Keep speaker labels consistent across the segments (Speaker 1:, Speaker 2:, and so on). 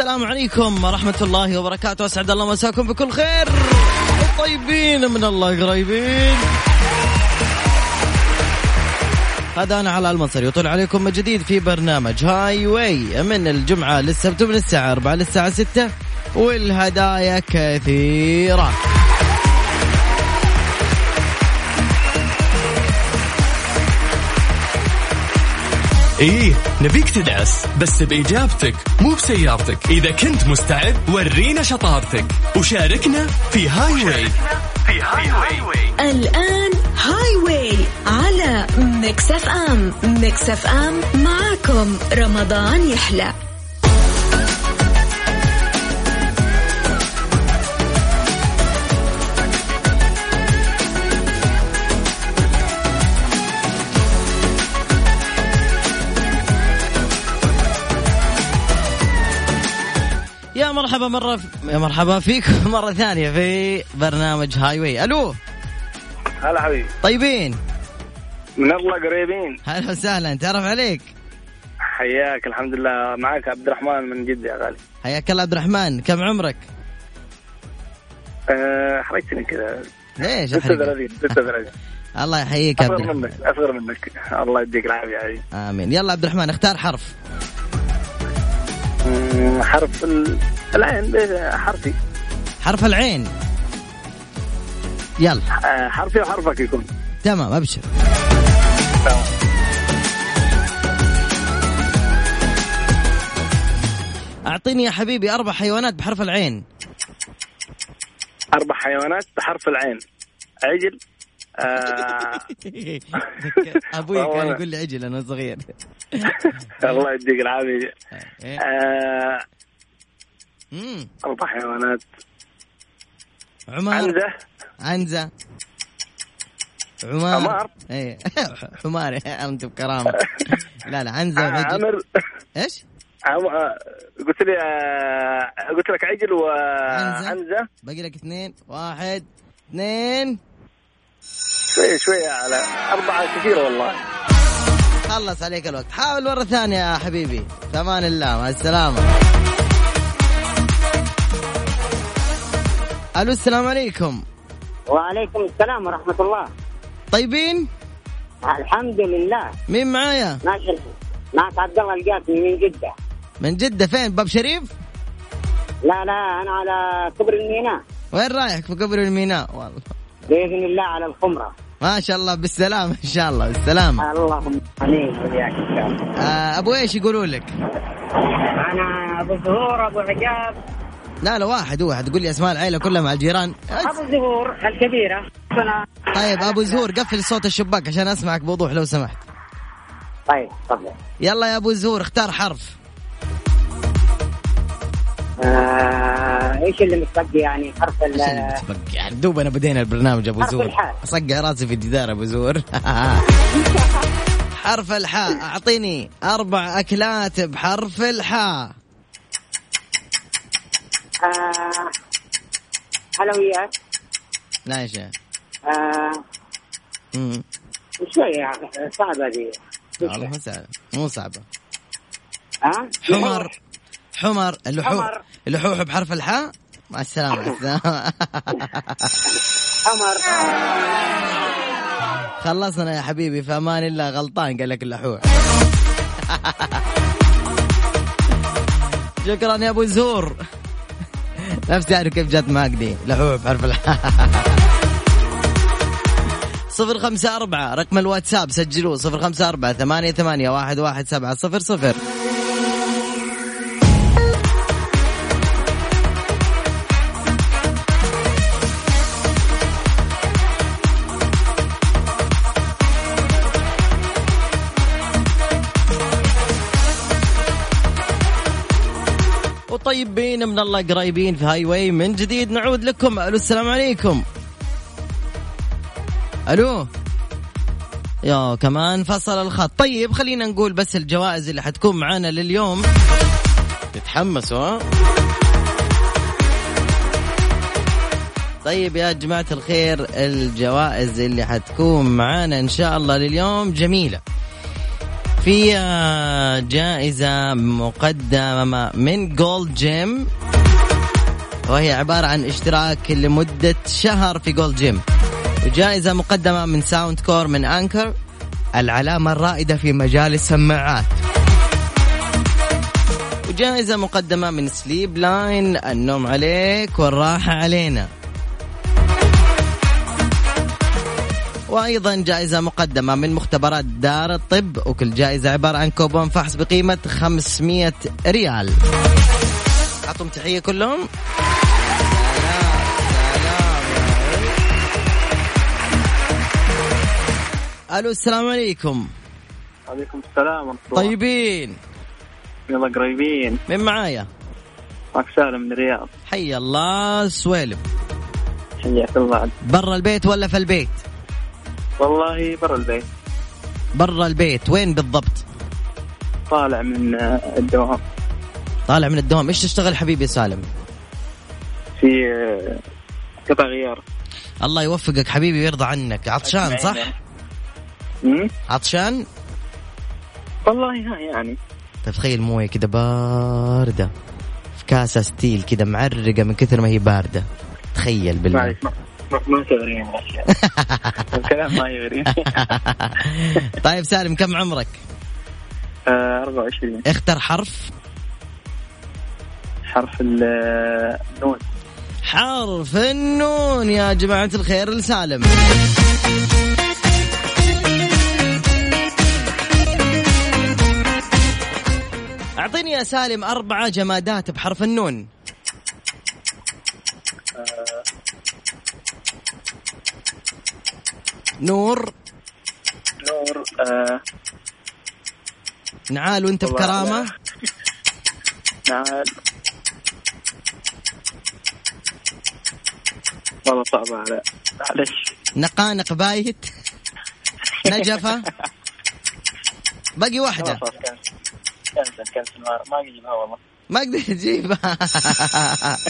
Speaker 1: عليكم ورحمة الله وبركاته أسعد الله مساكم بكل خير طيبين من الله قريبين هذا أنا على المنصري وطلع عليكم من جديد في برنامج هاي واي من الجمعة للسبت من الساعة 4 للساعة 6 والهدايا كثيرة
Speaker 2: ايه نبيك تدعس بس باجابتك مو بسيارتك اذا كنت مستعد ورينا شطارتك وشاركنا في هاي واي
Speaker 3: الآن هاي واي على ميكس اف ام ميكس اف ام معاكم رمضان يحلى
Speaker 1: يا مرحبا مرة يا مرحبا فيكم مرة ثانية في برنامج هاي واي ألو
Speaker 4: هلا حبيبي
Speaker 1: طيبين
Speaker 4: من الله قريبين
Speaker 1: هلا وسهلا تعرف عليك
Speaker 4: حياك الحمد لله معك عبد الرحمن من جدة يا غالي
Speaker 1: حياك الله عبد الرحمن كم عمرك؟
Speaker 4: أه، حرجتني كذا
Speaker 1: ليش أحرقك؟
Speaker 4: 36 36
Speaker 1: الله يحييك يا عبد
Speaker 4: اصغر
Speaker 1: الرحمن
Speaker 4: منك اصغر منك الله يديك العافيه يا حبيبي
Speaker 1: امين يلا عبد الرحمن اختار حرف
Speaker 4: مم، أمم، حرف ال- العين بيه- حرفي
Speaker 1: حرف العين يلا
Speaker 4: أه، حرفي وحرفك يكون
Speaker 1: تمام ابشر
Speaker 4: تمام.
Speaker 1: اعطيني يا حبيبي اربع حيوانات بحرف العين
Speaker 4: اربع حيوانات بحرف العين عجل آه،
Speaker 1: ابوي كان
Speaker 4: والله.
Speaker 1: يقول لي عجل انا صغير
Speaker 4: الله يديك العافيه آه،
Speaker 1: مم.
Speaker 4: اربع حيوانات
Speaker 1: عمار
Speaker 4: عنزه
Speaker 1: عنزة عمار
Speaker 4: عمار.
Speaker 1: ايه حمار انت بكرامه لا لا عنزة
Speaker 4: آه،
Speaker 1: وعجل
Speaker 4: عامر
Speaker 1: ايش؟
Speaker 4: عم... آه، قلت لي آه، قلت لك عجل
Speaker 1: عنزة.
Speaker 4: وعنزه
Speaker 1: باقي لك اثنين واحد اثنين
Speaker 4: شوي شوي على أربعة كثيرة والله
Speaker 1: خلص عليك الوقت حاول مرة ثانية يا حبيبي في أمان الله مع السلامة ألو السلام عليكم
Speaker 5: وعليكم السلام ورحمة الله
Speaker 1: طيبين
Speaker 5: الحمد لله
Speaker 1: مين معايا
Speaker 5: ماشي الحال معك عبد الله القاسمي من جدة
Speaker 1: من جدة فين باب شريف
Speaker 5: لا لا أنا على كبر الميناء
Speaker 1: وين رايح في قبر الميناء والله
Speaker 5: بإذن الله على الخمرة
Speaker 1: ما شاء الله بالسلامة إن شاء الله بالسلامة
Speaker 5: اللهم عليك وياك إن شاء الله.
Speaker 1: آه أبو إيش يقولوا لك
Speaker 5: أنا أبو زهور أبو عجاب
Speaker 1: لا لا واحد واحد تقول لي أسماء العيلة كلها مع الجيران
Speaker 5: أبو زهور الكبيرة أنا-
Speaker 1: طيب أبو زهور قفل صوت الشباك عشان أسمعك بوضوح لو سمحت
Speaker 5: طيب تفضل
Speaker 1: يلا يا أبو زهور اختار حرف
Speaker 5: آه، إيش اللي متبقي يعني حرف ال
Speaker 1: عشان نتبقى. يعني دوبنا بدينا البرنامج ابو
Speaker 5: حرف
Speaker 1: زور
Speaker 5: الحاء.
Speaker 1: اصقع راسي في الجدار ابو زور حرف الحاء اعطيني اربع اكلات بحرف الحاء
Speaker 5: آه، حلويات
Speaker 1: لا يا شيخ
Speaker 5: آه،
Speaker 1: مم.
Speaker 5: شوية يعني، صعبة دي
Speaker 1: والله مو صعبة مو صعبة
Speaker 5: ها؟
Speaker 1: حمر حمر اللحوح
Speaker 5: حمر.
Speaker 1: اللحوح بحرف الحاء مع السلامة
Speaker 5: حمر
Speaker 1: خلصنا يا حبيبي في امان الله غلطان قال لك اللحوح شكرا يا ابو زهور نفسي اعرف كيف جت معك دي لحوح بحرف الح صفر خمسة أربعة رقم الواتساب سجلوه صفر خمسة أربعة ثمانية ثمانية واحد واحد سبعة صفر صفر وطيبين من الله قريبين في هاي واي من جديد نعود لكم الو السلام عليكم الو يا كمان فصل الخط طيب خلينا نقول بس الجوائز اللي حتكون معانا لليوم تتحمسوا ها طيب يا جماعة الخير الجوائز اللي حتكون معانا إن شاء الله لليوم جميلة في آه، جائزة مقدمة من جولد جيم وهي عبارة عن اشتراك لمدة شهر في جولد جيم وجائزة مقدمة من ساوند كور من أنكر العلامة الرائدة في مجال السماعات وجائزة مقدمة من سليب لاين النوم عليك والراحة علينا وايضا جائزه مقدمه من مختبرات دار الطب وكل جائزه عباره عن كوبون فحص بقيمه 500 ريال اعطهم تحيه كلهم الو السلام عليكم
Speaker 4: عليكم السلام ورحمه
Speaker 1: طيب.
Speaker 4: الله
Speaker 1: طيبين
Speaker 4: يلا قريبين
Speaker 1: من معايا
Speaker 4: معك سالم من الرياض
Speaker 1: حي الله سويلم
Speaker 4: حياك الله عاد.
Speaker 1: برا البيت ولا في البيت
Speaker 4: والله برا البيت
Speaker 1: برا البيت وين بالضبط
Speaker 4: طالع من آه، الدوام
Speaker 1: طالع من الدوام ايش تشتغل حبيبي يا سالم
Speaker 4: في آه، قطع غيار
Speaker 1: الله يوفقك حبيبي ويرضى عنك عطشان صح
Speaker 4: أمم؟
Speaker 1: عطشان
Speaker 4: والله ها يعني
Speaker 1: طيب تخيل مويه كده بارده في كاسه ستيل كده معرقه من كثر ما هي بارده تخيل بالله
Speaker 4: معلش ما- ما ما تغرين الكلام ما يغرين
Speaker 1: طيب سالم كم عمرك
Speaker 4: آه، 24
Speaker 1: اختر حرف
Speaker 4: حرف ال- آه، النون
Speaker 1: حرف النون يا جماعة الخير لسالم أعطيني يا سالم أربعة جمادات بحرف النون نور
Speaker 4: نور آه،
Speaker 1: نعال وانت
Speaker 4: والله
Speaker 1: بكرامة
Speaker 4: لا. نعال والله صعبة على معلش
Speaker 1: نقانق بايت نجفة باقي واحدة
Speaker 4: خلاص كنسل كنسل كنسل ما ما يجيبها والله
Speaker 1: ما اقدر اجيبها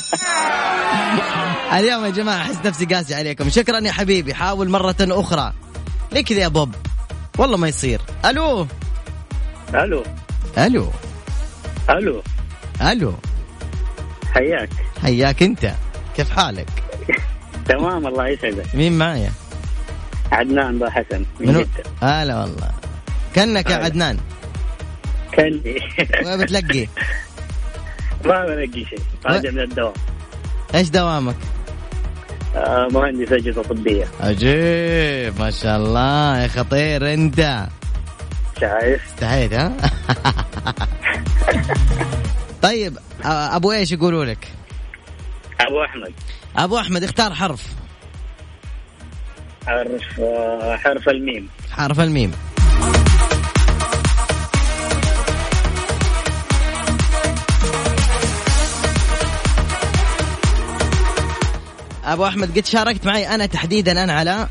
Speaker 1: اليوم يا جماعه احس نفسي قاسي عليكم شكرا يا حبيبي حاول مره اخرى ليه كذا يا بوب والله ما يصير الو
Speaker 4: الو
Speaker 1: الو
Speaker 4: الو
Speaker 1: الو
Speaker 4: حياك
Speaker 1: حياك انت كيف حالك
Speaker 4: تمام الله يسعدك
Speaker 1: مين معايا
Speaker 4: عدنان با حسن من
Speaker 1: منو؟
Speaker 4: جدة
Speaker 1: هلا والله كانك يا
Speaker 4: هلا.
Speaker 1: عدنان
Speaker 4: كلي
Speaker 1: وين بتلقي
Speaker 4: ما بلاقي شيء راجع من الدوام
Speaker 1: ايش دوامك
Speaker 4: آه، مهندس اجهزه طبيه
Speaker 1: عجيب ما شاء الله يا خطير انت
Speaker 4: شايف
Speaker 1: استحيت ها طيب آه، ابو ايش يقولوا لك
Speaker 4: ابو احمد
Speaker 1: ابو احمد اختار حرف
Speaker 4: حرف آه، حرف الميم
Speaker 1: حرف الميم ابو احمد قد شاركت معي انا تحديدا انا على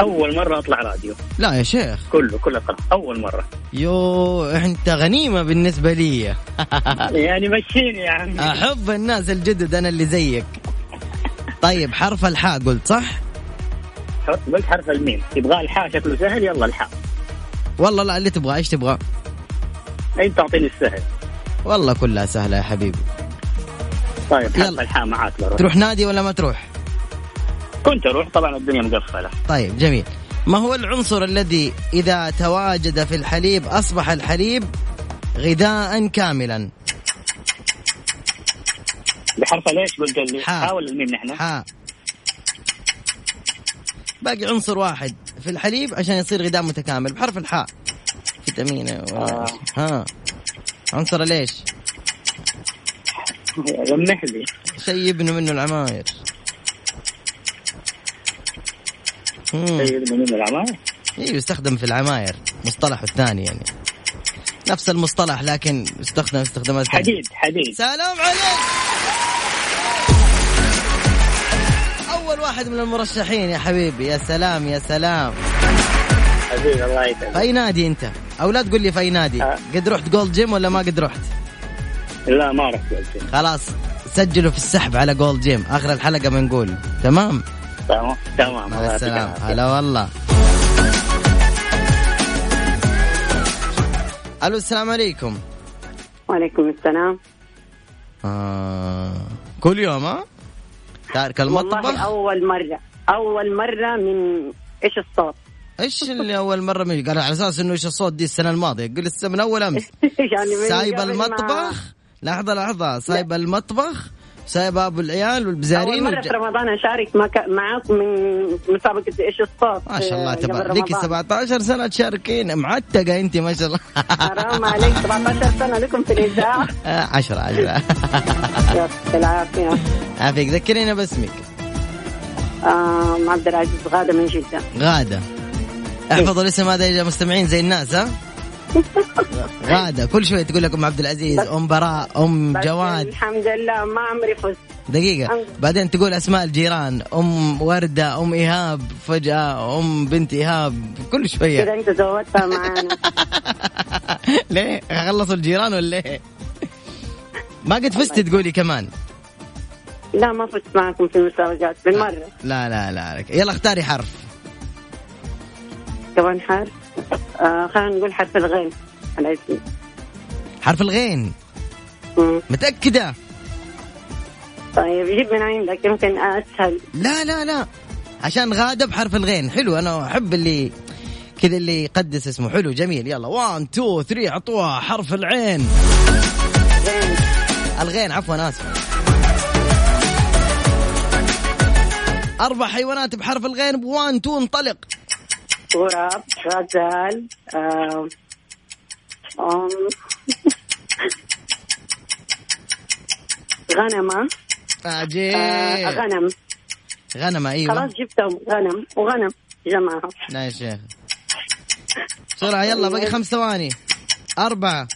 Speaker 4: اول مره اطلع راديو
Speaker 1: لا يا شيخ
Speaker 4: كله كله قرأ. اول مره
Speaker 1: يو انت غنيمه بالنسبه لي
Speaker 4: يعني مشيني يا عمي
Speaker 1: احب الناس الجدد انا اللي زيك طيب حرف الحاء قلت صح
Speaker 4: حط- قلت حرف الميم يبغى الحاء شكله سهل يلا الحاء
Speaker 1: والله لا اللي تبغاه ايش تبغى
Speaker 4: انت اعطيني السهل
Speaker 1: والله كلها سهله يا حبيبي
Speaker 4: طيب حرف
Speaker 1: يلا.
Speaker 4: الحاء معاك بروح
Speaker 1: تروح نادي ولا ما تروح
Speaker 4: كنت اروح طبعا الدنيا مقفله
Speaker 1: طيب جميل ما هو العنصر الذي إذا تواجد في الحليب أصبح الحليب غذاء كاملا
Speaker 4: بحرف ليش قلت لي
Speaker 1: حاء.
Speaker 4: حاول الميم نحن
Speaker 1: حاء باقي عنصر واحد في الحليب عشان يصير غذاء متكامل بحرف الحاء فيتامين ولا
Speaker 4: آه.
Speaker 1: ها عنصر ليش
Speaker 4: لمح لي
Speaker 1: شيء يبنوا منه العماير مم.
Speaker 4: سيد من العمار
Speaker 1: ايوه يستخدم في العماير مصطلح الثاني يعني نفس المصطلح لكن يستخدم استخدامات ثانية.
Speaker 4: حديد حديد
Speaker 1: سلام عليك اول واحد من المرشحين يا حبيبي يا سلام يا سلام
Speaker 4: حبيبي الله
Speaker 1: في
Speaker 4: يسعدك
Speaker 1: اي نادي انت او لا تقول لي في اي نادي
Speaker 4: أه.
Speaker 1: قد رحت جولد جيم ولا ما قد رحت
Speaker 4: لا ما رحت قلت لي.
Speaker 1: خلاص سجلوا في السحب على جولد جيم اخر الحلقه بنقول تمام
Speaker 4: تمام تمام الله
Speaker 1: مع
Speaker 4: يعطيك
Speaker 1: السلامه
Speaker 4: العافية.
Speaker 1: هلا والله الو السلام عليكم
Speaker 5: وعليكم السلام
Speaker 1: آه. كل يوم ها تارك
Speaker 5: والله
Speaker 1: المطبخ
Speaker 5: أول مرة أول مرة من إيش الصوت
Speaker 1: ايش اللي اول مره من قال على اساس انه ايش الصوت دي السنه الماضيه قل لسه من اول امس
Speaker 5: يعني من
Speaker 1: سايب
Speaker 5: قبل ما-
Speaker 1: المطبخ لحظه لحظه سايب المطبخ سايب ابو العيال
Speaker 5: أول
Speaker 1: والبزارين
Speaker 5: مرة
Speaker 1: والج-
Speaker 5: في رمضان أشارك مك- معاكم من مسابقة إيش الصوت
Speaker 1: ما شاء الله
Speaker 5: آه، قبل
Speaker 1: تبارك لك
Speaker 5: رمضان.
Speaker 1: 17 سنه تشاركين معتقه انت ما شاء الله
Speaker 5: حرام عليك 17 سنة لكم في الإذاعة
Speaker 1: 10 10
Speaker 5: يعطيك العافية
Speaker 1: عافيك ذكرينا باسمك
Speaker 5: آم، عبد العزيز غادة من جدة
Speaker 1: غاده احفظوا الاسم هذا يا مستمعين زي الناس ها غاده كل شويه تقول لكم عبد العزيز ام براء ام
Speaker 5: بس يعني
Speaker 1: جواد
Speaker 5: الحمد لله ما عمري فزت
Speaker 1: دقيقه بعدين تقول اسماء الجيران ام ورده ام ايهاب فجاه ام بنت ايهاب كل شويه
Speaker 5: كذا انت زودتها معانا
Speaker 1: ليه خلصوا الجيران ولا ايه ما قد فزتي تقولي كمان
Speaker 5: لا ما فزت معكم في المسابقات بالمرة
Speaker 1: لا لا لا لك. يلا اختاري حرف
Speaker 5: كمان حرف آه خلينا نقول حرف الغين على اسمي
Speaker 1: حرف الغين
Speaker 5: مم.
Speaker 1: متأكدة
Speaker 5: طيب جيب من عندك يمكن اسهل
Speaker 1: لا لا لا عشان غادة بحرف الغين حلو أنا أحب اللي كذا اللي يقدس اسمه حلو جميل يلا 1 2 3 عطوها حرف العين
Speaker 5: غين
Speaker 1: الغين عفوا آسف أربع حيوانات بحرف الغين ب 1 2 انطلق
Speaker 5: غراب غزال آم، آم، غنمة آه
Speaker 1: عجيب
Speaker 5: غنم
Speaker 1: غنمة
Speaker 5: خلاص
Speaker 1: إيه. أيوه
Speaker 5: جبتهم غنم وغنم جماعة
Speaker 1: لا يا شيخ بسرعة يلا باقي خمس ثواني أربعة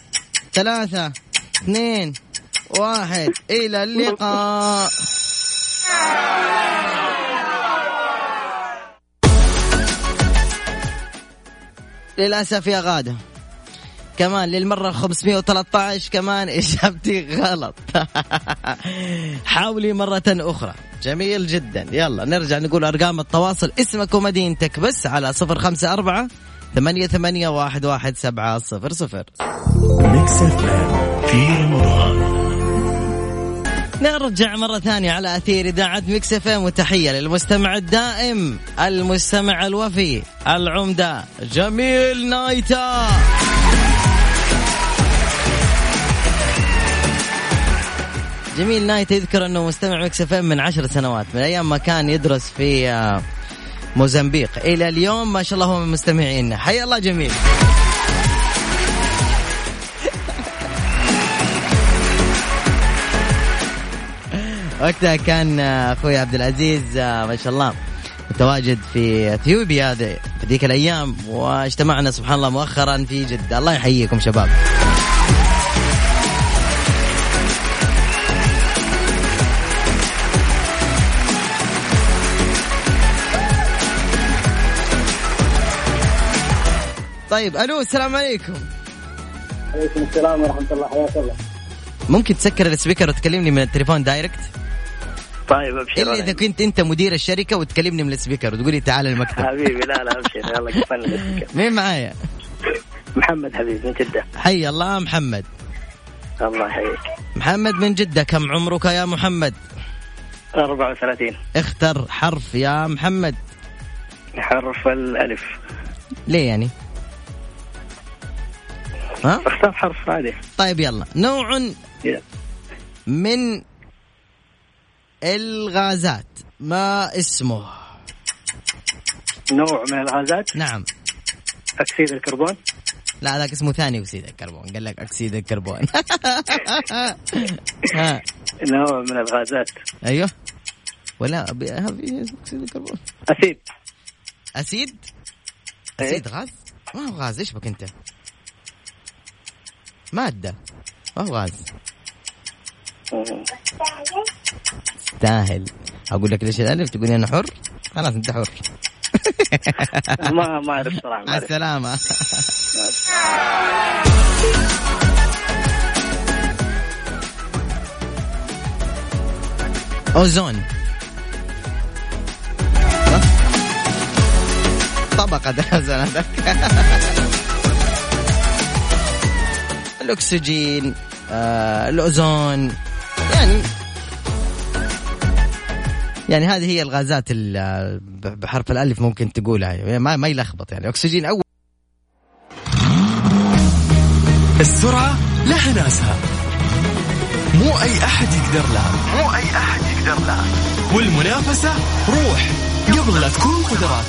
Speaker 1: ثلاثة اثنين واحد إلى اللقاء للأسف يا غادة كمان للمرة 513 كمان إجابتي غلط حاولي مرة أخرى جميل جدا يلا نرجع نقول أرقام التواصل اسمك ومدينتك بس على 054 ثمانية ثمانية واحد واحد سبعة صفر صفر
Speaker 2: ميكس اف ام في رمضان
Speaker 1: نرجع مرة ثانية على أثير إذاعة ميكس اف ام وتحية للمستمع الدائم المستمع الوفي العمدة جميل نايتا جميل نايتا يذكر أنه مستمع ميكس اف ام من عشر سنوات من أيام ما كان يدرس في آه، موزمبيق إلى اليوم ما شاء الله هو من مستمعينا حيا الله جميل وقتها كان اخوي عبد العزيز آه، ما شاء الله متواجد في اثيوبيا ذي- في ذيك الايام واجتمعنا سبحان الله مؤخرا في جده الله يحييكم شباب طيب الو السلام عليكم
Speaker 4: عليكم السلام ورحمه الله حياك الله
Speaker 1: ممكن تسكر السبيكر وتكلمني من التليفون دايركت
Speaker 4: طيب ابشر
Speaker 1: الا
Speaker 4: أنا.
Speaker 1: اذا إيه كنت انت مدير الشركه وتكلمني من السبيكر وتقولي تعال المكتب
Speaker 4: حبيبي لا لا ابشر يلا كفن لك.
Speaker 1: مين معايا
Speaker 4: محمد حبيبي من جده
Speaker 1: حي الله محمد
Speaker 4: الله يحييك
Speaker 1: محمد من جدة كم عمرك يا محمد
Speaker 4: 34
Speaker 1: اختر حرف يا محمد
Speaker 4: حرف الالف
Speaker 1: ليه يعني ها
Speaker 4: اختار حرف عادي
Speaker 1: طيب يلا نوع
Speaker 4: يلا.
Speaker 1: من الغازات ما اسمه
Speaker 4: نوع من الغازات
Speaker 1: نعم
Speaker 4: اكسيد الكربون
Speaker 1: لا ذاك اسمه ثاني اكسيد الكربون قال لك اكسيد الكربون ها
Speaker 4: نوع من الغازات
Speaker 1: ايوه ولا أبي- أبي اكسيد الكربون
Speaker 4: اسيد
Speaker 1: اسيد
Speaker 4: إيه.
Speaker 1: اسيد غاز ما هو غاز ايش بك انت ماده ما هو غاز
Speaker 4: مم.
Speaker 1: تستاهل اقول لك ليش الالف تقول انا حر خلاص انت حر
Speaker 4: ما ما اعرف صراحه ما
Speaker 1: مع
Speaker 4: أعرف.
Speaker 1: السلامه اوزون طبقة ده اوزون هذاك الأكسجين آه، الأوزون يعني يعني هذه هي الغازات ال- بحرف الألف ممكن تقولها يعني ما ما يلخبط يعني أكسجين أول
Speaker 2: السرعة لها ناسها مو أي أحد يقدر لها مو أي أحد يقدر لها والمنافسة روح قبل لا تكون قدرات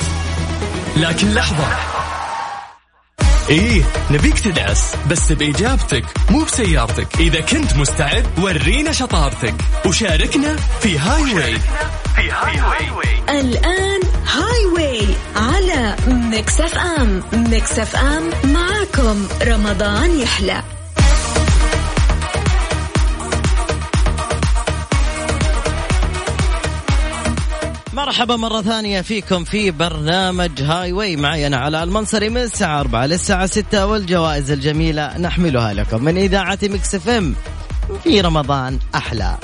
Speaker 2: لكن لحظة إيه نبيك تدعس بس بإجابتك مو بسيارتك إذا كنت مستعد ورينا شطارتك وشاركنا في هاي واي
Speaker 3: الآن هاي واي على ميكس اف ام ميكس اف ام معكم رمضان يحلى
Speaker 1: مرحبا مرة ثانية فيكم في برنامج هاي واي معي أنا علاء المنصري من الساعة 4 للساعة 6 والجوائز الجميلة نحملها لكم من إذاعة مكس اف ام في رمضان أحلى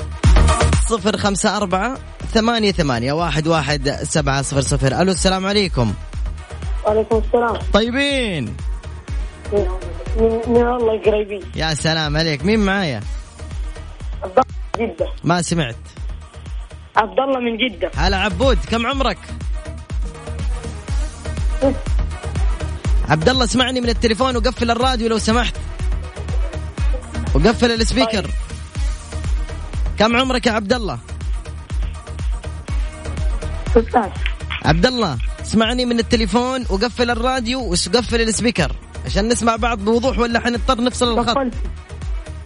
Speaker 1: صفر خمسة أربعة ثمانية ثمانية واحد واحد سبعة صفر صفر ألو السلام عليكم
Speaker 6: وعليكم السلام
Speaker 1: طيبين
Speaker 6: من, من الله قريبين
Speaker 1: يا سلام عليك مين معايا
Speaker 6: عبد الله من جدة
Speaker 1: ما سمعت
Speaker 6: عبد الله من جدة
Speaker 1: هلا عبود كم عمرك عبد الله اسمعني من التليفون وقفل الراديو لو سمحت وقفل السبيكر كم عمرك يا عبد الله
Speaker 6: 16
Speaker 1: عبد الله اسمعني من التليفون وقفل الراديو وقفل السبيكر عشان نسمع بعض بوضوح ولا حنضطر نفصل الخط
Speaker 6: قفلت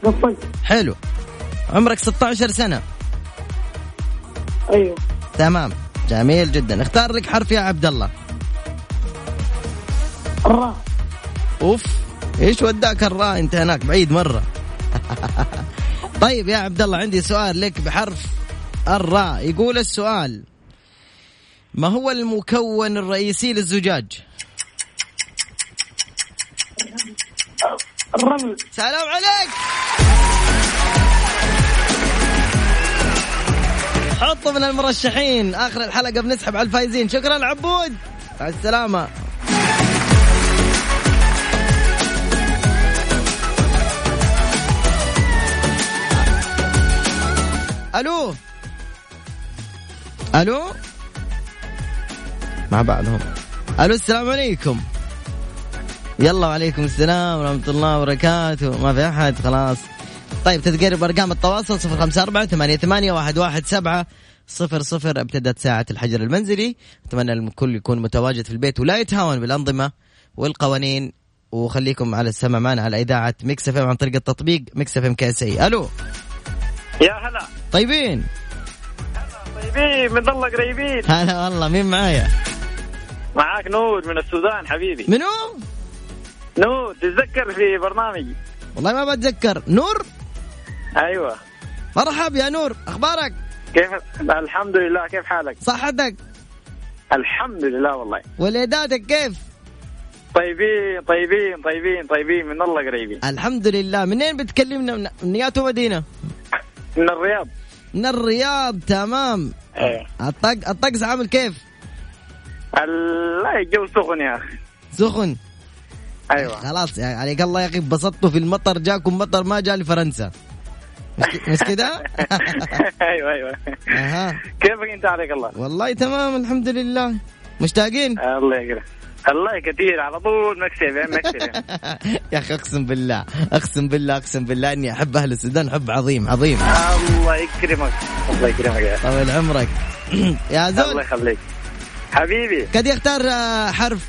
Speaker 6: قفلت
Speaker 1: حلو عمرك 16 سنه
Speaker 6: ايوه
Speaker 1: تمام جميل جدا اختار لك حرف يا عبد الله
Speaker 6: الراء
Speaker 1: اوف ايش وداك الراء انت هناك بعيد مره طيب يا عبد الله عندي سؤال لك بحرف الراء يقول السؤال ما هو المكون الرئيسي للزجاج؟
Speaker 6: الرمل
Speaker 1: سلام عليك حطوا من المرشحين اخر الحلقه بنسحب على الفايزين شكرا عبود مع السلامه الو الو مع بعضهم الو السلام عليكم يلا وعليكم السلام ورحمة الله وبركاته ما في أحد خلاص طيب تذكير بأرقام التواصل صفر خمسة أربعة ثمانية, ثمانية واحد, واحد سبعة صفر صفر ابتدت ساعة الحجر المنزلي أتمنى الكل يكون متواجد في البيت ولا يتهاون بالأنظمة والقوانين وخليكم على السمع معنا على إذاعة ميكس اف عن طريق التطبيق ميكس اف ام كاس اي ألو
Speaker 4: يا هلا
Speaker 1: طيبين
Speaker 4: طيبين من الله قريبين
Speaker 1: هلا والله مين معايا
Speaker 4: معاك نور من السودان حبيبي
Speaker 1: منو
Speaker 4: نور تتذكر في برنامجي
Speaker 1: والله ما بتذكر نور
Speaker 4: ايوه
Speaker 1: مرحب يا نور أخبارك
Speaker 4: كيف الحمد لله كيف حالك
Speaker 1: صحتك
Speaker 4: الحمد لله والله
Speaker 1: ولاداتك كيف
Speaker 4: طيبين طيبين طيبين طيبين من الله قريبين
Speaker 1: الحمد لله منين بتكلمنا من منيات ومدينة
Speaker 4: من الرياض
Speaker 1: من الرياض تمام
Speaker 4: ايه
Speaker 1: الطق الطقس عامل كيف
Speaker 4: ال- لا الجو سخن يا اخي
Speaker 1: سخن
Speaker 4: ايوه
Speaker 1: خلاص يعني عليك الله يا اخي انبسطتوا في المطر جاكم مطر ما جاء لفرنسا مش ك- مش كده
Speaker 4: ايوه ايوه
Speaker 1: اها
Speaker 4: كيفك انت عليك الله
Speaker 1: والله تمام الحمد لله مشتاقين
Speaker 4: الله يقرأ الله كثير على طول مكسب يا مكسب
Speaker 1: يا اخي اقسم بالله اقسم بالله اقسم بالله اني احب اهل السودان حب عظيم عظيم
Speaker 4: الله يكرمك الله يكرمك يا أخي.
Speaker 1: طول عمرك يا
Speaker 4: الله
Speaker 1: زول
Speaker 4: يخليك حبيبي
Speaker 1: قد يختار آه، حرف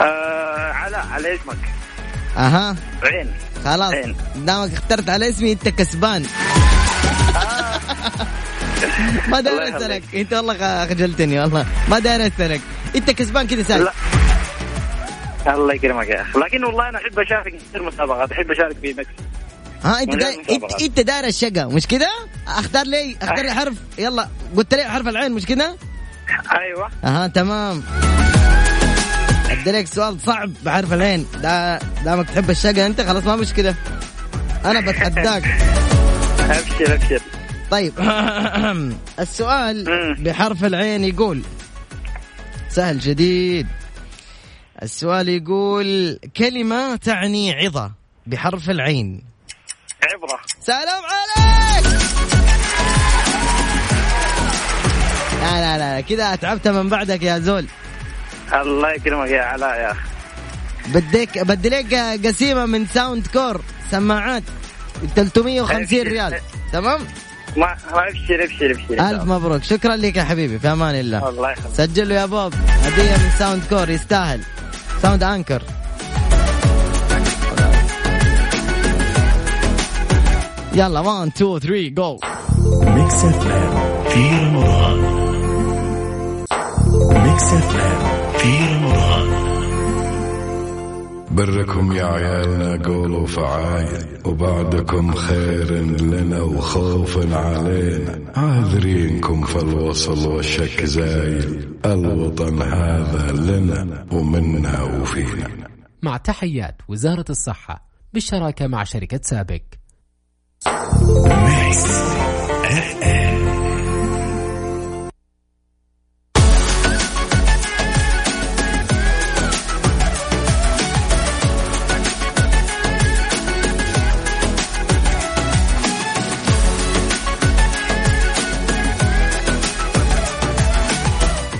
Speaker 4: آه على على اسمك
Speaker 1: اها
Speaker 4: عين
Speaker 1: خلاص
Speaker 4: عين.
Speaker 1: دامك اخترت على اسمي انت كسبان ما
Speaker 4: آه. الله
Speaker 1: داريت
Speaker 4: يخليك.
Speaker 1: لك انت والله خ- خجلتني والله ما داريت لك انت كسبان كذا سهل
Speaker 4: لا الله يكرمك يا اخي لكن والله انا احب اشارك في كثير مسابقات احب اشارك في مكسب
Speaker 1: ها انت
Speaker 4: من غير
Speaker 1: دا... انت
Speaker 4: مسابقات.
Speaker 1: انت داير الشقه مش كذا؟ اختار لي اختار لي حرف يلا قلت لي حرف العين مش كذا؟
Speaker 4: ايوه
Speaker 1: اها تمام اديلك سؤال صعب بحرف العين دا... دامك تحب الشقه انت خلاص ما مشكله انا بتحداك
Speaker 4: ابشر ابشر
Speaker 1: طيب السؤال
Speaker 4: مم.
Speaker 1: بحرف العين يقول سهل جديد السؤال يقول كلمة تعني عظة بحرف العين
Speaker 4: عبره
Speaker 1: سلام عليك لا لا لا, لا. كذا اتعبت من بعدك يا زول
Speaker 4: الله يكرمك يا علاء يا اخي
Speaker 1: بديك بدي لك قسيمه من ساوند كور سماعات 350 ريال تمام
Speaker 4: ما ما ابشر ابشر ابشر
Speaker 1: الف مبروك شكرا لك يا حبيبي في امان الله
Speaker 4: الله يخليك
Speaker 1: سجل له يا بوب هديه من ساوند كور يستاهل ساوند انكر يلا 1 2 3 جو
Speaker 2: ميكس اف ام في رمضان ميكس اف ام في رمضان
Speaker 7: بركم يا عيالنا قولوا فعايل وبعدكم خير لنا وخوف علينا عاذرينكم فالوصل والشك زايل الوطن هذا لنا ومنا وفينا
Speaker 8: مع تحيات وزارة الصحة بالشراكة مع شركة سابك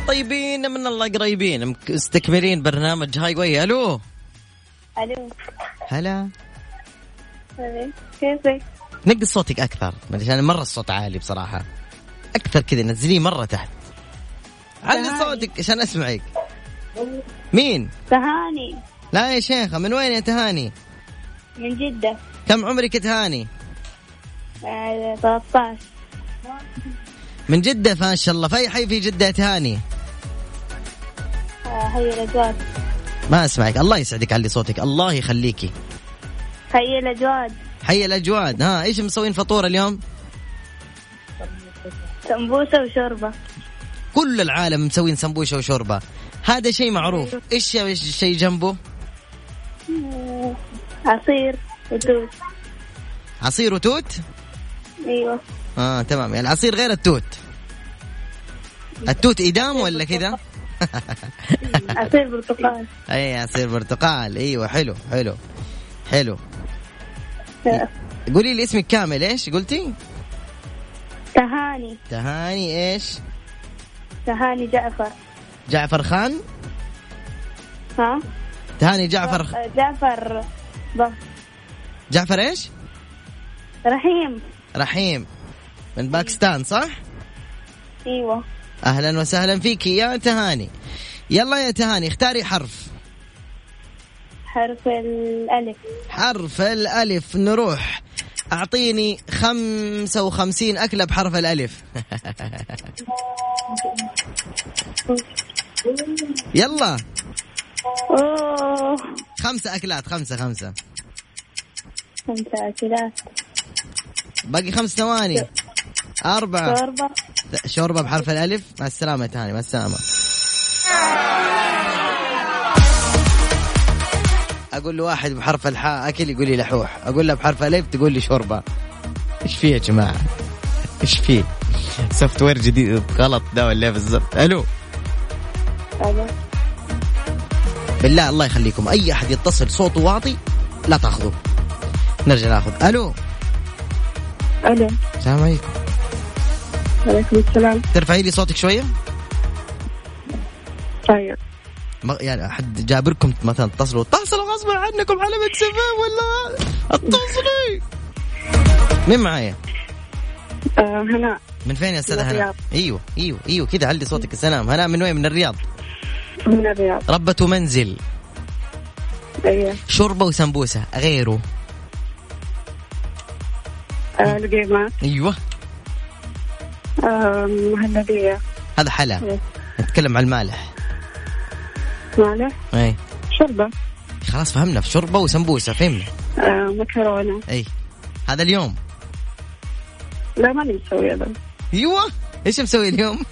Speaker 1: طيبين من الله قريبين مك- مستكملين برنامج هاي واي الو
Speaker 9: الو
Speaker 1: هلا
Speaker 9: كيفك؟
Speaker 1: نقص صوتك اكثر عشان مره الصوت عالي بصراحه اكثر كذا نزليه مره تحت علي صوتك عشان اسمعك مين
Speaker 9: تهاني
Speaker 1: لا يا شيخه من وين يا تهاني
Speaker 9: من جدة
Speaker 1: كم عمرك يا تهاني
Speaker 9: آه، 13
Speaker 1: من جده فان شاء الله في أي حي في جده يا تهاني
Speaker 9: آه، هيا الأجواد
Speaker 1: ما اسمعك الله يسعدك علي صوتك الله يخليكي
Speaker 9: هيا الأجواد
Speaker 1: حي الاجواد ها ايش مسوين فطور اليوم
Speaker 9: سمبوسة وشوربة
Speaker 1: كل العالم مسوين سمبوشه وشوربه هذا شيء معروف ايش ايش الشيء جنبه
Speaker 9: آه، عصير وتوت
Speaker 1: عصير وتوت
Speaker 9: أيوة
Speaker 1: اه تمام يعني العصير غير التوت التوت إدام ولا كذا؟
Speaker 9: عصير برتقال
Speaker 1: اي إيه، عصير برتقال ايوه حلو حلو حلو
Speaker 9: آه،
Speaker 1: قولي لي اسمك كامل ايش قلتي؟
Speaker 9: تهاني
Speaker 1: تهاني ايش؟
Speaker 9: تهاني جعفر
Speaker 1: جعفر خان؟
Speaker 9: ها
Speaker 1: تهاني جعفر
Speaker 9: آه، جعفر ب-
Speaker 1: جعفر ايش؟
Speaker 9: رحيم
Speaker 1: رحيم من باكستان صح؟
Speaker 9: أيوة
Speaker 1: اهلا وسهلا فيكي يا تهاني يلا يا تهاني اختاري حرف
Speaker 9: حرف الألف
Speaker 1: حرف الألف نروح أعطيني خمسة وخمسين أكلة بحرف الألف يلا
Speaker 9: أوه
Speaker 1: خمسة أكلات خمسة خمسة
Speaker 9: خمسة أكلات
Speaker 1: باقي خمس ثواني أربعة
Speaker 9: شوربة
Speaker 1: شوربة بحرف الألف مع السلامة تاني مع السلامة أقول له واحد بحرف الحاء أكل يقول لي لحوح أقول له بحرف الألف تقول لي شوربة إيش فيه يا جماعة إيش فيه سوفت وير جديد غلط ده ولا إيه بالضبط ألو
Speaker 9: ألو
Speaker 1: بالله الله يخليكم أي أحد يتصل صوته واطي لا تاخذوه نرجع ناخذ ألو
Speaker 6: ألو
Speaker 1: السلام عليكم
Speaker 6: عليكم السلام
Speaker 1: ترفعي لي صوتك شوية
Speaker 6: طيب
Speaker 1: ما- يعني حد جابركم مثلا اتصلوا اتصلوا غصبا عنكم على مكس اف ام ولا اتصلي مين معايا؟
Speaker 6: آه هنا
Speaker 1: من فين يا استاذ
Speaker 6: من
Speaker 1: هنا؟
Speaker 6: الرياض.
Speaker 1: ايوه ايوه ايوه كذا علي صوتك يا سلام هنا من وين؟ من الرياض
Speaker 6: من الرياض
Speaker 1: ربة منزل
Speaker 6: أيوة
Speaker 1: شوربة وسمبوسة غيره
Speaker 6: آه القيمات
Speaker 1: ايوه
Speaker 6: آه مهلبية
Speaker 1: هذا
Speaker 6: إيه.
Speaker 1: حلا نتكلم عن المالح
Speaker 6: مالح
Speaker 1: اي
Speaker 6: شوربة
Speaker 1: خلاص فهمنا في شوربة وسمبوسة فهمنا
Speaker 6: آه مكرونة
Speaker 1: اي هذا اليوم
Speaker 6: لا ماني مسوي هذا
Speaker 1: ايوه ايش مسوي اليوم؟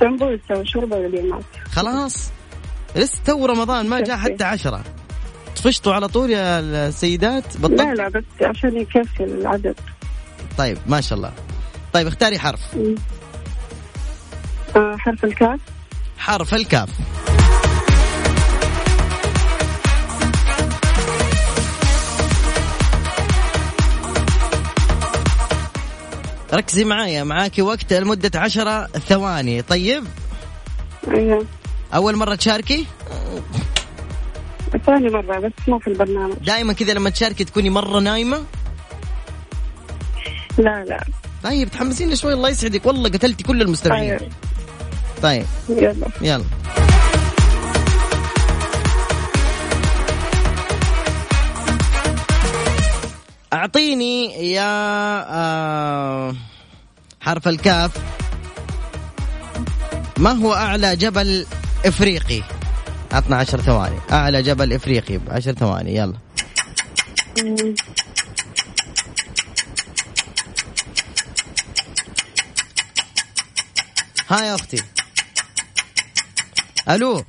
Speaker 6: سمبوسة وشوربة والقيمات
Speaker 1: خلاص لسه تو رمضان ما جاء حتى عشرة طفشتوا على طول يا السيدات بطلت
Speaker 6: لا لا بس عشان يكفي العدد
Speaker 1: طيب ما شاء الله طيب اختاري حرف
Speaker 6: آه حرف الكاف
Speaker 1: حرف الكاف ركزي معايا معاكي وقت لمدة عشرة ثواني طيب
Speaker 6: ايوه
Speaker 1: أول مرة تشاركي
Speaker 6: ثاني مرة بس مو في البرنامج
Speaker 1: دائما كذا لما تشاركي تكوني مرة نايمة
Speaker 6: لا لا
Speaker 1: طيب تحمسيني شوي الله يسعدك والله قتلتي كل المستمعين
Speaker 9: طيب.
Speaker 6: ايوه
Speaker 1: طيب
Speaker 6: يلا
Speaker 1: يلا اعطيني يا آه حرف الكاف ما هو اعلى جبل افريقي عطنا عشر ثواني اعلى جبل افريقي بعشر ثواني يلا
Speaker 9: أمم.
Speaker 1: ها يا اختي الو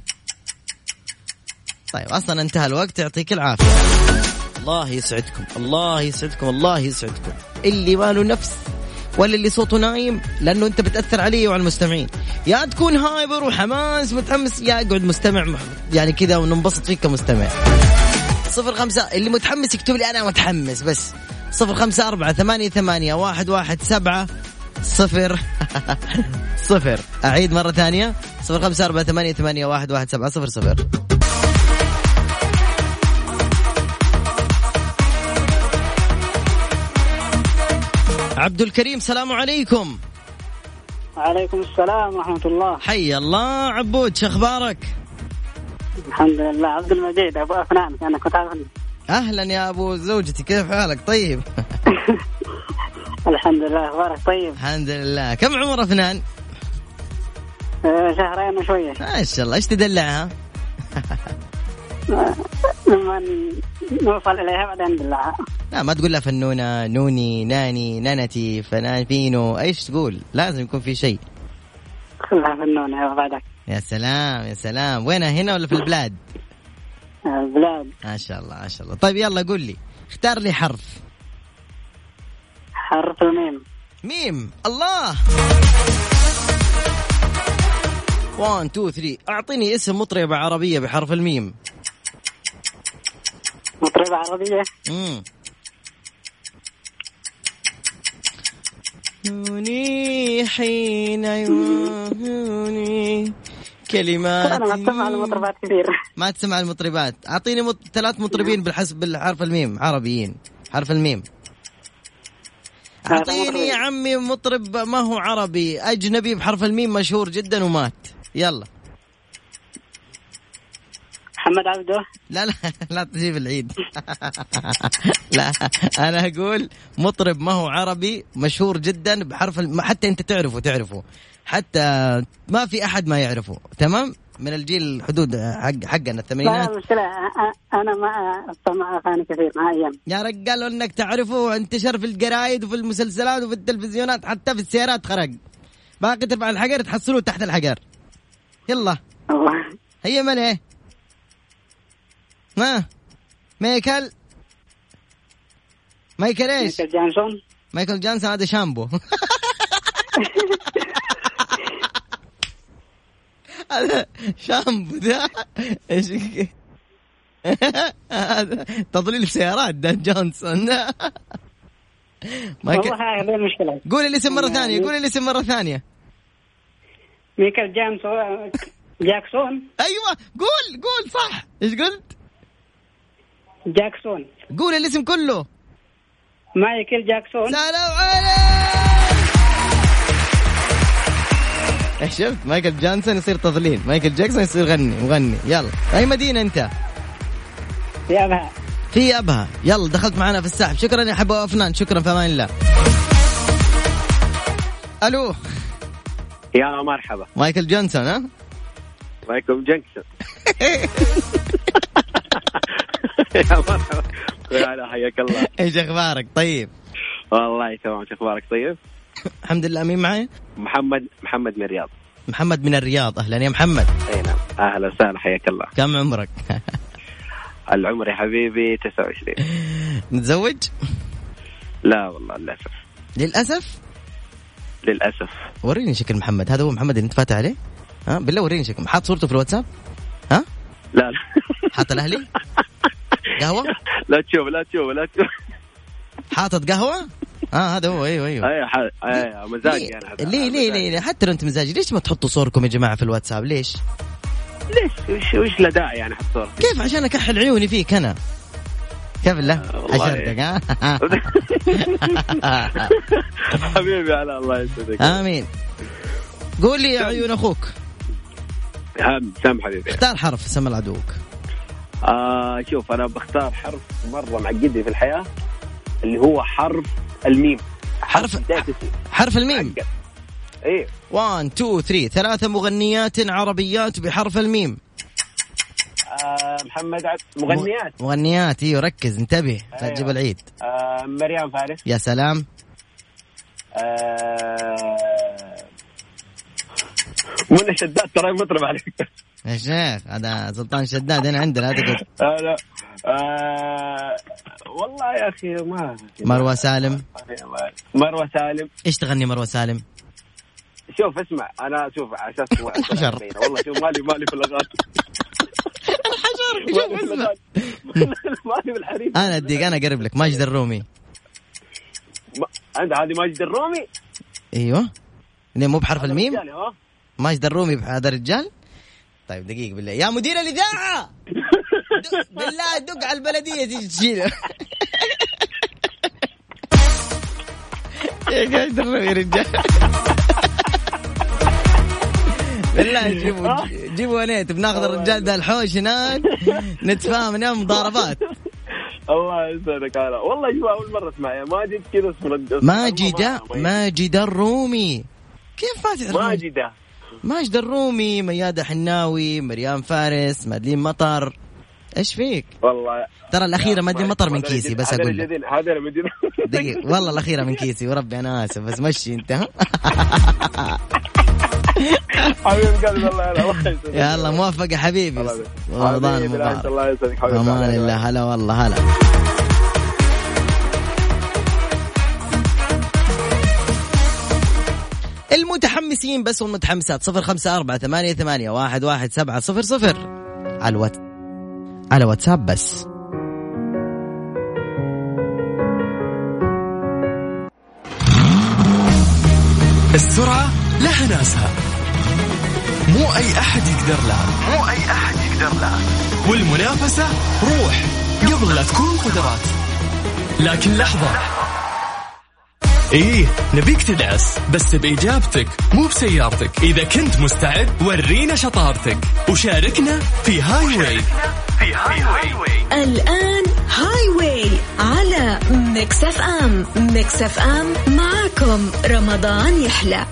Speaker 1: طيب اصلا انتهى الوقت يعطيك العافيه الله يسعدكم الله يسعدكم الله يسعدكم اللي ما له نفس ولا اللي صوته نايم لانه انت بتاثر علي وعلى المستمعين يا تكون هايبر وحماس متحمس يا اقعد مستمع مح- يعني كذا وننبسط فيك كمستمع صفر خمسة اللي متحمس يكتب لي أنا متحمس بس صفر خمسة أربعة ثمانية ثمانية واحد واحد سبعة صفر صفر أعيد مرة ثانية صفر خمسة أربعة ثمانية ثمانية واحد واحد سبعة صفر صفر عبد الكريم سلام عليكم
Speaker 5: وعليكم السلام ورحمة الله
Speaker 1: حي الله عبود شخبارك
Speaker 5: الحمد لله عبد المجيد أبو أفنانك أنا كنت عارفني
Speaker 1: أهلا يا أبو زوجتي كيف حالك طيب
Speaker 5: الحمد لله أخبارك طيب
Speaker 1: الحمد لله كم عمر أفنان
Speaker 5: آه، شهرين وشوية
Speaker 1: ما شاء الله ايش تدلعها
Speaker 5: آه، لما نوصل إليها بعدين بالله
Speaker 1: لا ما تقول لها فنونة نوني ناني نانتي فنان فينو ايش تقول لازم يكون في شيء
Speaker 5: خلها فنون يا بعدك
Speaker 1: يا سلام يا سلام وينها هنا ولا في البلاد
Speaker 5: آه، بلاد
Speaker 1: ما شاء الله ما شاء الله طيب يلا قول لي اختار لي حرف
Speaker 5: حرف الميم
Speaker 1: ميم الله 1 2 3 اعطيني اسم مطربة عربية بحرف الميم
Speaker 5: مطربة عربية
Speaker 1: مم. نوني حين عيوني كلمات
Speaker 5: أنا ما أتفق على مطربات كثير
Speaker 1: ما تسمع المطربات اعطيني مط... ثلاث مطربين بالحسب بالحرف الميم عربيين حرف الميم
Speaker 5: ثلاث
Speaker 1: اعطيني يا
Speaker 5: مطربين.
Speaker 1: عمي مطرب ما هو عربي اجنبي بحرف الميم مشهور جدا ومات يلا
Speaker 5: محمد عبده
Speaker 1: لا لا لا تجيب العيد لا انا اقول مطرب ما هو عربي مشهور جدا بحرف الم... حتى انت تعرفه تعرفه حتى ما في احد ما يعرفه تمام من الجيل حدود حق حقنا
Speaker 5: لا
Speaker 1: الثمانينات
Speaker 5: لا، مشكلة أ- أ- أنا ما أسمع أغاني كثير مع أيام
Speaker 1: يا رجال انك تعرفه انتشر في الجرايد وفي المسلسلات وفي التلفزيونات حتى في السيارات خرج باقي ترفع الحجر تحصلوه تحت الحجر يلا
Speaker 5: والله.
Speaker 1: هي من ايه ما مايكل مايكل ايش
Speaker 5: مايكل جانسون
Speaker 1: مايكل جانسون هذا شامبو هذا شامبو ده ايش هذا تضليل سيارات ده جونسون مايكل
Speaker 5: والله هذه المشكلة
Speaker 1: قول الاسم مره ثانيه قول الاسم مره ثانيه
Speaker 5: مايكل جانسون جاكسون
Speaker 1: ايوه قول قول صح ايش قلت
Speaker 5: جاكسون
Speaker 1: قول الاسم كله
Speaker 5: مايكل جاكسون
Speaker 1: سلام عليك إيه، شفت مايكل جانسون يصير تضليل مايكل جاكسون يصير غني مغني يلا اي مدينه انت
Speaker 5: يا أبها
Speaker 1: في ابها يلا دخلت معنا في السحب شكرا يا حبا افنان شكرا في امان الله الو
Speaker 4: يا مرحبا
Speaker 1: مايكل جانسون ها
Speaker 4: مايكل جنكسون يا مرحبا يا هلا حياك الله
Speaker 1: ايش اخبارك طيب
Speaker 4: والله تمام شو اخبارك طيب؟
Speaker 1: الحمد لله مين معي
Speaker 4: محمد محمد من الرياض
Speaker 1: محمد من الرياض اهلا يا محمد
Speaker 4: اي نعم اهلا وسهلا حياك الله
Speaker 1: كم عمرك
Speaker 4: العمر يا حبيبي 29
Speaker 1: متزوج
Speaker 4: لا والله للاسف
Speaker 1: للاسف
Speaker 4: للاسف
Speaker 1: وريني شكل محمد هذا هو محمد اللي انت فاتح عليه ها بالله وريني شكل حاط صورته في الواتساب ها
Speaker 4: لا لا
Speaker 1: حاط الاهلي قهوه
Speaker 4: لا تشوف لا تشوف لا تشوف
Speaker 1: حاطط قهوه اه هذا هو ايوه ايوه
Speaker 4: ايوه ح- ايوه مزاجي انا
Speaker 1: ليه ليه ليه, ليه, ليه حتى لو انت مزاجي ليش ما تحطوا صوركم يا جماعه في الواتساب ليش؟
Speaker 4: ليش وش وش له داعي يعني احط صورة
Speaker 1: كيف عشان اكحل عيوني فيك انا؟ كيف لا؟
Speaker 4: آه، والله
Speaker 1: اشردك ها؟
Speaker 4: حبيبي على الله يسعدك
Speaker 1: امين قول لي يا عيون اخوك
Speaker 4: هم سام حبيبي
Speaker 1: اختار حرف سم العدوك
Speaker 4: آه شوف انا بختار حرف مره معقدني في الحياه اللي هو حرف الميم
Speaker 1: حرف-
Speaker 4: بداية اسم.
Speaker 1: حرف الميم
Speaker 4: حقه. ايه
Speaker 1: 1 2 3 ثلاثة مغنيات عربيات بحرف الميم
Speaker 4: آه محمد عبد مغنيات
Speaker 1: مغنيات ايوه ركز انتبه لا
Speaker 4: أيوة.
Speaker 1: تجيب العيد
Speaker 4: آه مريم فارس
Speaker 1: يا سلام
Speaker 4: آه منى شداد ترى مطرب عليك
Speaker 1: يا شيخ هذا سلطان شداد هنا عندنا هذا قد.
Speaker 4: آه لا آه والله يا اخي ما
Speaker 1: مروة سالم
Speaker 4: مروه سالم
Speaker 1: ايش تغني مروة سالم؟
Speaker 4: شوف اسمع انا شوف على اساس
Speaker 1: الحجر.
Speaker 4: والله شوف مالي مالي في الاغاني
Speaker 1: الحجر
Speaker 4: مالي في الأغاني. مالي في الحريم
Speaker 1: انا اديك انا اقرب لك ماجد الرومي
Speaker 4: ما- انت هذه ماجد الرومي يعني،
Speaker 1: ايوه ليه مو بحرف
Speaker 4: هذا
Speaker 1: الميم؟
Speaker 4: رجالي، ها؟
Speaker 1: ماجد الرومي بح- هذا الرجال؟ طيب دقيقة بالله يا مدير الإذاعة دق- بالله دق على البلدية تيجي تشيله يا قاعد الرومي يا رجال بالله جيبوا جيبوا نيت بناخذ الرجال ده الحوش هناك نتفاهم هناك مضاربات
Speaker 4: الله يسعدك هلا والله شوف اول مره اسمع يا ماجد يعني كذا اسم
Speaker 1: ماجد ماجد الرومي كيف ما تعرف ماجد
Speaker 4: ماجدة
Speaker 1: ماجد الرومي ميادة حناوي مريم فارس مادلين مطر ايش فيك
Speaker 4: والله
Speaker 1: ترى الاخيره مادلين مطر من
Speaker 4: هذا
Speaker 1: كيسي
Speaker 4: الجديد-
Speaker 1: بس
Speaker 4: هذا
Speaker 1: اقول لك
Speaker 4: الجديد- هذا المدير
Speaker 1: دقيقة والله الأخيرة من كيسي وربي أنا آسف بس مشي أنت ها؟
Speaker 4: حبيب قلبي الله يلا الله يسعدك
Speaker 1: يا الله موفق يا حبيبي
Speaker 4: الله يسعدك.
Speaker 1: رمضان
Speaker 4: حبيبي، لا،
Speaker 1: مبارك
Speaker 4: الله يسعدك حبيبي
Speaker 1: امان الله هلا والله هلا المتحمسين بس والمتحمسات صفر خمسة أربعة ثمانية, ثمانية واحد, واحد سبعة صفر صفر على الوات على واتساب بس
Speaker 2: السرعة لها ناسها مو أي أحد يقدر لها مو أي أحد يقدر لها والمنافسة روح قبل لا تكون قدرات لكن لحظة إيه نبيك تدعس بس بإجابتك مو بسيارتك إذا كنت مستعد ورينا شطارتك وشاركنا في هاي واي
Speaker 3: الآن هاي واي على ميكس اف ام ميكس اف ام معكم رمضان يحلى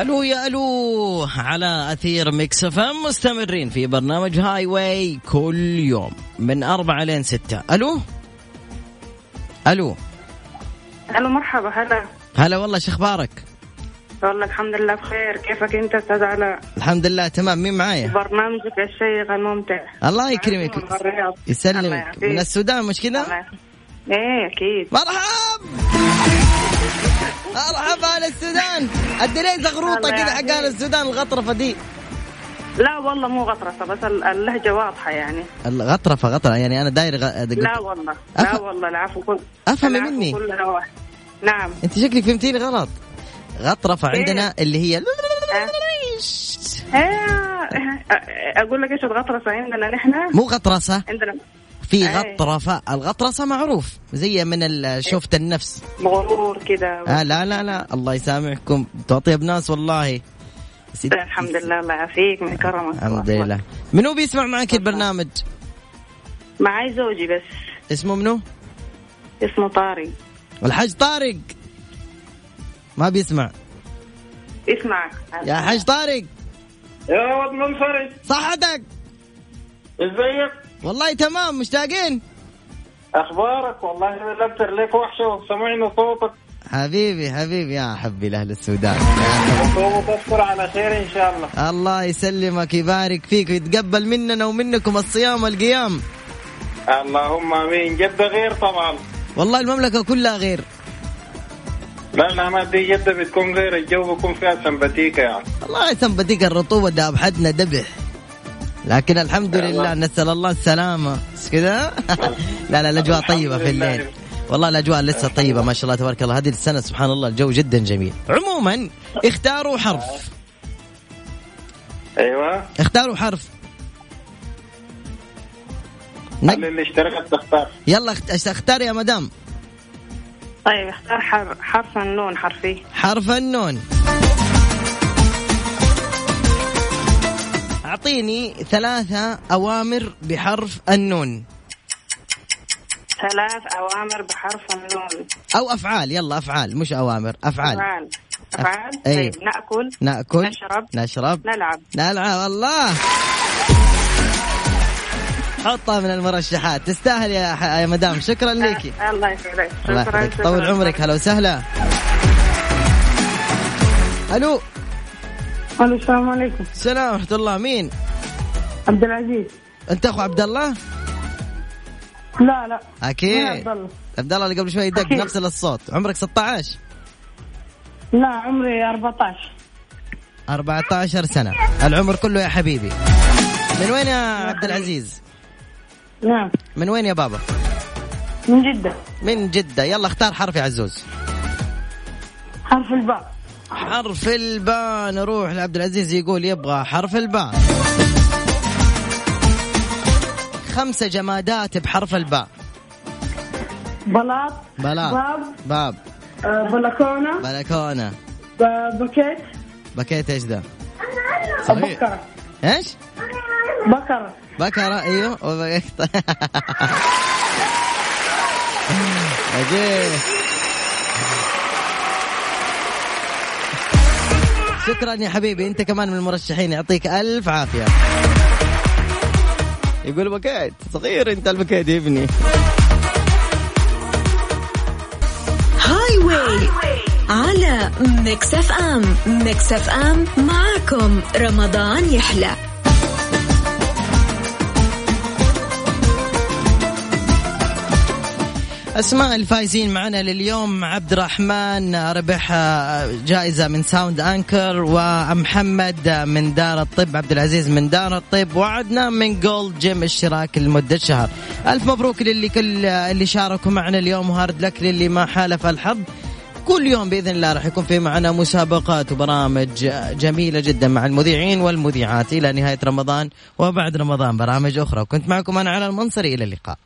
Speaker 1: الو يا الو على اثير ميكس اف ام مستمرين في برنامج هاي واي كل يوم من أربعة لين ستة الو الو
Speaker 6: الو مرحبا هلا
Speaker 1: هلا والله شخبارك
Speaker 6: والله الحمد لله بخير كيفك انت استاذ علاء
Speaker 1: الحمد لله تمام مين معايا
Speaker 6: برنامجك الشيق الممتع
Speaker 1: الله يكرمك
Speaker 6: معكم من الرياض. الله
Speaker 1: يسلمك
Speaker 6: يعافيك.
Speaker 1: من السودان مش
Speaker 6: الله
Speaker 1: كذا
Speaker 6: يعافيك. ايه اكيد
Speaker 1: مرحب مرحب اهل السودان اديني زغروطه
Speaker 6: الله
Speaker 1: كذا حق اهل
Speaker 6: يعافيك.
Speaker 1: السودان الغطرفه دي
Speaker 6: لا والله مو غطرسه بس ال- اللهجه واضحه يعني
Speaker 1: الغطرفه غطرة يعني انا داير غ...
Speaker 6: لا والله لا
Speaker 1: أف-
Speaker 6: والله العفو كل
Speaker 1: أفهمي
Speaker 6: العفو
Speaker 1: مني.
Speaker 6: كلها واحد. نعم
Speaker 1: انت شكلك فهمتيني غلط غطرفه
Speaker 6: إيه.
Speaker 1: عندنا اللي هي
Speaker 6: أه. ايه أ- اقول لك ايش الغطرسه عندنا نحن
Speaker 1: مو غطرسه
Speaker 6: عندنا
Speaker 1: في
Speaker 6: إيه.
Speaker 1: غطرفه الغطرسه معروف زي من ال- شوفة النفس
Speaker 6: غرور كده
Speaker 1: آه لا لا لا الله يسامحكم تعطيها بناس والله سيد-
Speaker 6: طيب، الحمد لله الله يعافيك من كرمك
Speaker 1: الحمد لله منو بيسمع معك البرنامج
Speaker 6: معي زوجي بس
Speaker 1: اسمه منو
Speaker 6: اسمه طارق
Speaker 1: الحاج طارق ما بيسمع
Speaker 6: اسمع
Speaker 1: يا حاج طارق
Speaker 4: يا ولد منفرد
Speaker 1: صحتك
Speaker 4: ازيك
Speaker 1: والله تمام مشتاقين
Speaker 4: اخبارك والله لبتر لك وحشه وسمعنا صوتك
Speaker 1: حبيبي حبيبي يا حبي لاهل السودان يا حبي.
Speaker 5: وتذكر على خير ان شاء الله
Speaker 1: الله يسلمك يبارك فيك ويتقبل مننا ومنكم الصيام والقيام
Speaker 5: اللهم امين جده غير طبعا
Speaker 1: والله المملكة كلها غير
Speaker 5: لا لا ما دي جده بتكون غير الجو بيكون فيها سمباتيكا يعني
Speaker 1: الله يثبتك الرطوبة ده أبحدنا دبح لكن الحمد لله نسأل الله السلامة بس كذا لا لا الأجواء طيبة في
Speaker 5: لله.
Speaker 1: الليل والله الأجواء لسه طيبة ما شاء الله تبارك الله هذه السنة سبحان الله الجو جدا جميل عموما اختاروا حرف
Speaker 5: ايوه
Speaker 1: اختاروا حرف
Speaker 5: خلي اللي اشتركت تختار
Speaker 1: يلا اخت- اختار يا مدام
Speaker 6: طيب اختار حر- حرف النون حرفي
Speaker 1: حرف النون أعطيني ثلاثة أوامر بحرف النون
Speaker 6: ثلاث أوامر بحرف النون
Speaker 1: أو أفعال يلا أفعال مش أوامر أفعال
Speaker 6: أفعال أفعال
Speaker 1: أيوة.
Speaker 6: طيب نأكل
Speaker 1: نأكل
Speaker 6: نشرب.
Speaker 1: نشرب
Speaker 6: نلعب
Speaker 1: نلعب الله حطها من المرشحات تستاهل يا ح... يا مدام شكرا ليكي
Speaker 6: آه، الله يسعدك
Speaker 1: الله
Speaker 6: شكرا
Speaker 1: يحفظك طول
Speaker 6: شكراً.
Speaker 1: عمرك هلا وسهلا الو
Speaker 6: ألو، السلام عليكم
Speaker 1: السلام ورحمه الله مين
Speaker 6: عبد العزيز
Speaker 1: انت اخو عبد الله
Speaker 6: لا لا
Speaker 1: اكيد
Speaker 6: مين عبد الله؟
Speaker 1: عبد الله اللي قبل شوي دق
Speaker 6: أكيد.
Speaker 1: نفس الصوت عمرك 16
Speaker 6: لا عمري 14
Speaker 1: 14 سنه العمر كله يا حبيبي من وين يا عبد العزيز
Speaker 6: نعم
Speaker 1: من وين يا بابا
Speaker 6: من جدة
Speaker 1: من جده يلا اختار حرف يا عزوز
Speaker 6: حرف الباء
Speaker 1: حرف الباء نروح لعبد العزيز يقول يبغى حرف الباء خمسة جمادات بحرف الباء
Speaker 6: بلاط
Speaker 1: بلاط
Speaker 6: باب.
Speaker 1: باب
Speaker 6: آه، بلكونة
Speaker 1: بلكونة
Speaker 6: ب- بوكيت
Speaker 1: بكيت ايش ده؟
Speaker 6: بكرة
Speaker 1: ايش؟
Speaker 6: بكرة
Speaker 1: بكرة ايوه وبقيت عجيب شكرا يا حبيبي انت كمان من المرشحين يعطيك الف عافيه يقول بكيت صغير انت البكيت يا ابني
Speaker 3: هاي واي على ميكس اف ام ميكس اف ام معاكم رمضان يحلى
Speaker 1: اسماء الفائزين معنا لليوم عبد الرحمن ربح جائزه من ساوند انكر ومحمد من دار الطب عبد العزيز من دار الطب وعدنان من جولد جيم اشتراك لمده شهر الف مبروك للي كل اللي شاركوا معنا اليوم وهارد لك للي ما حالف الحظ كل يوم باذن الله راح يكون في معنا مسابقات وبرامج جميله جدا مع المذيعين والمذيعات الى نهايه رمضان وبعد رمضان برامج اخرى كنت معكم انا على المنصري الى اللقاء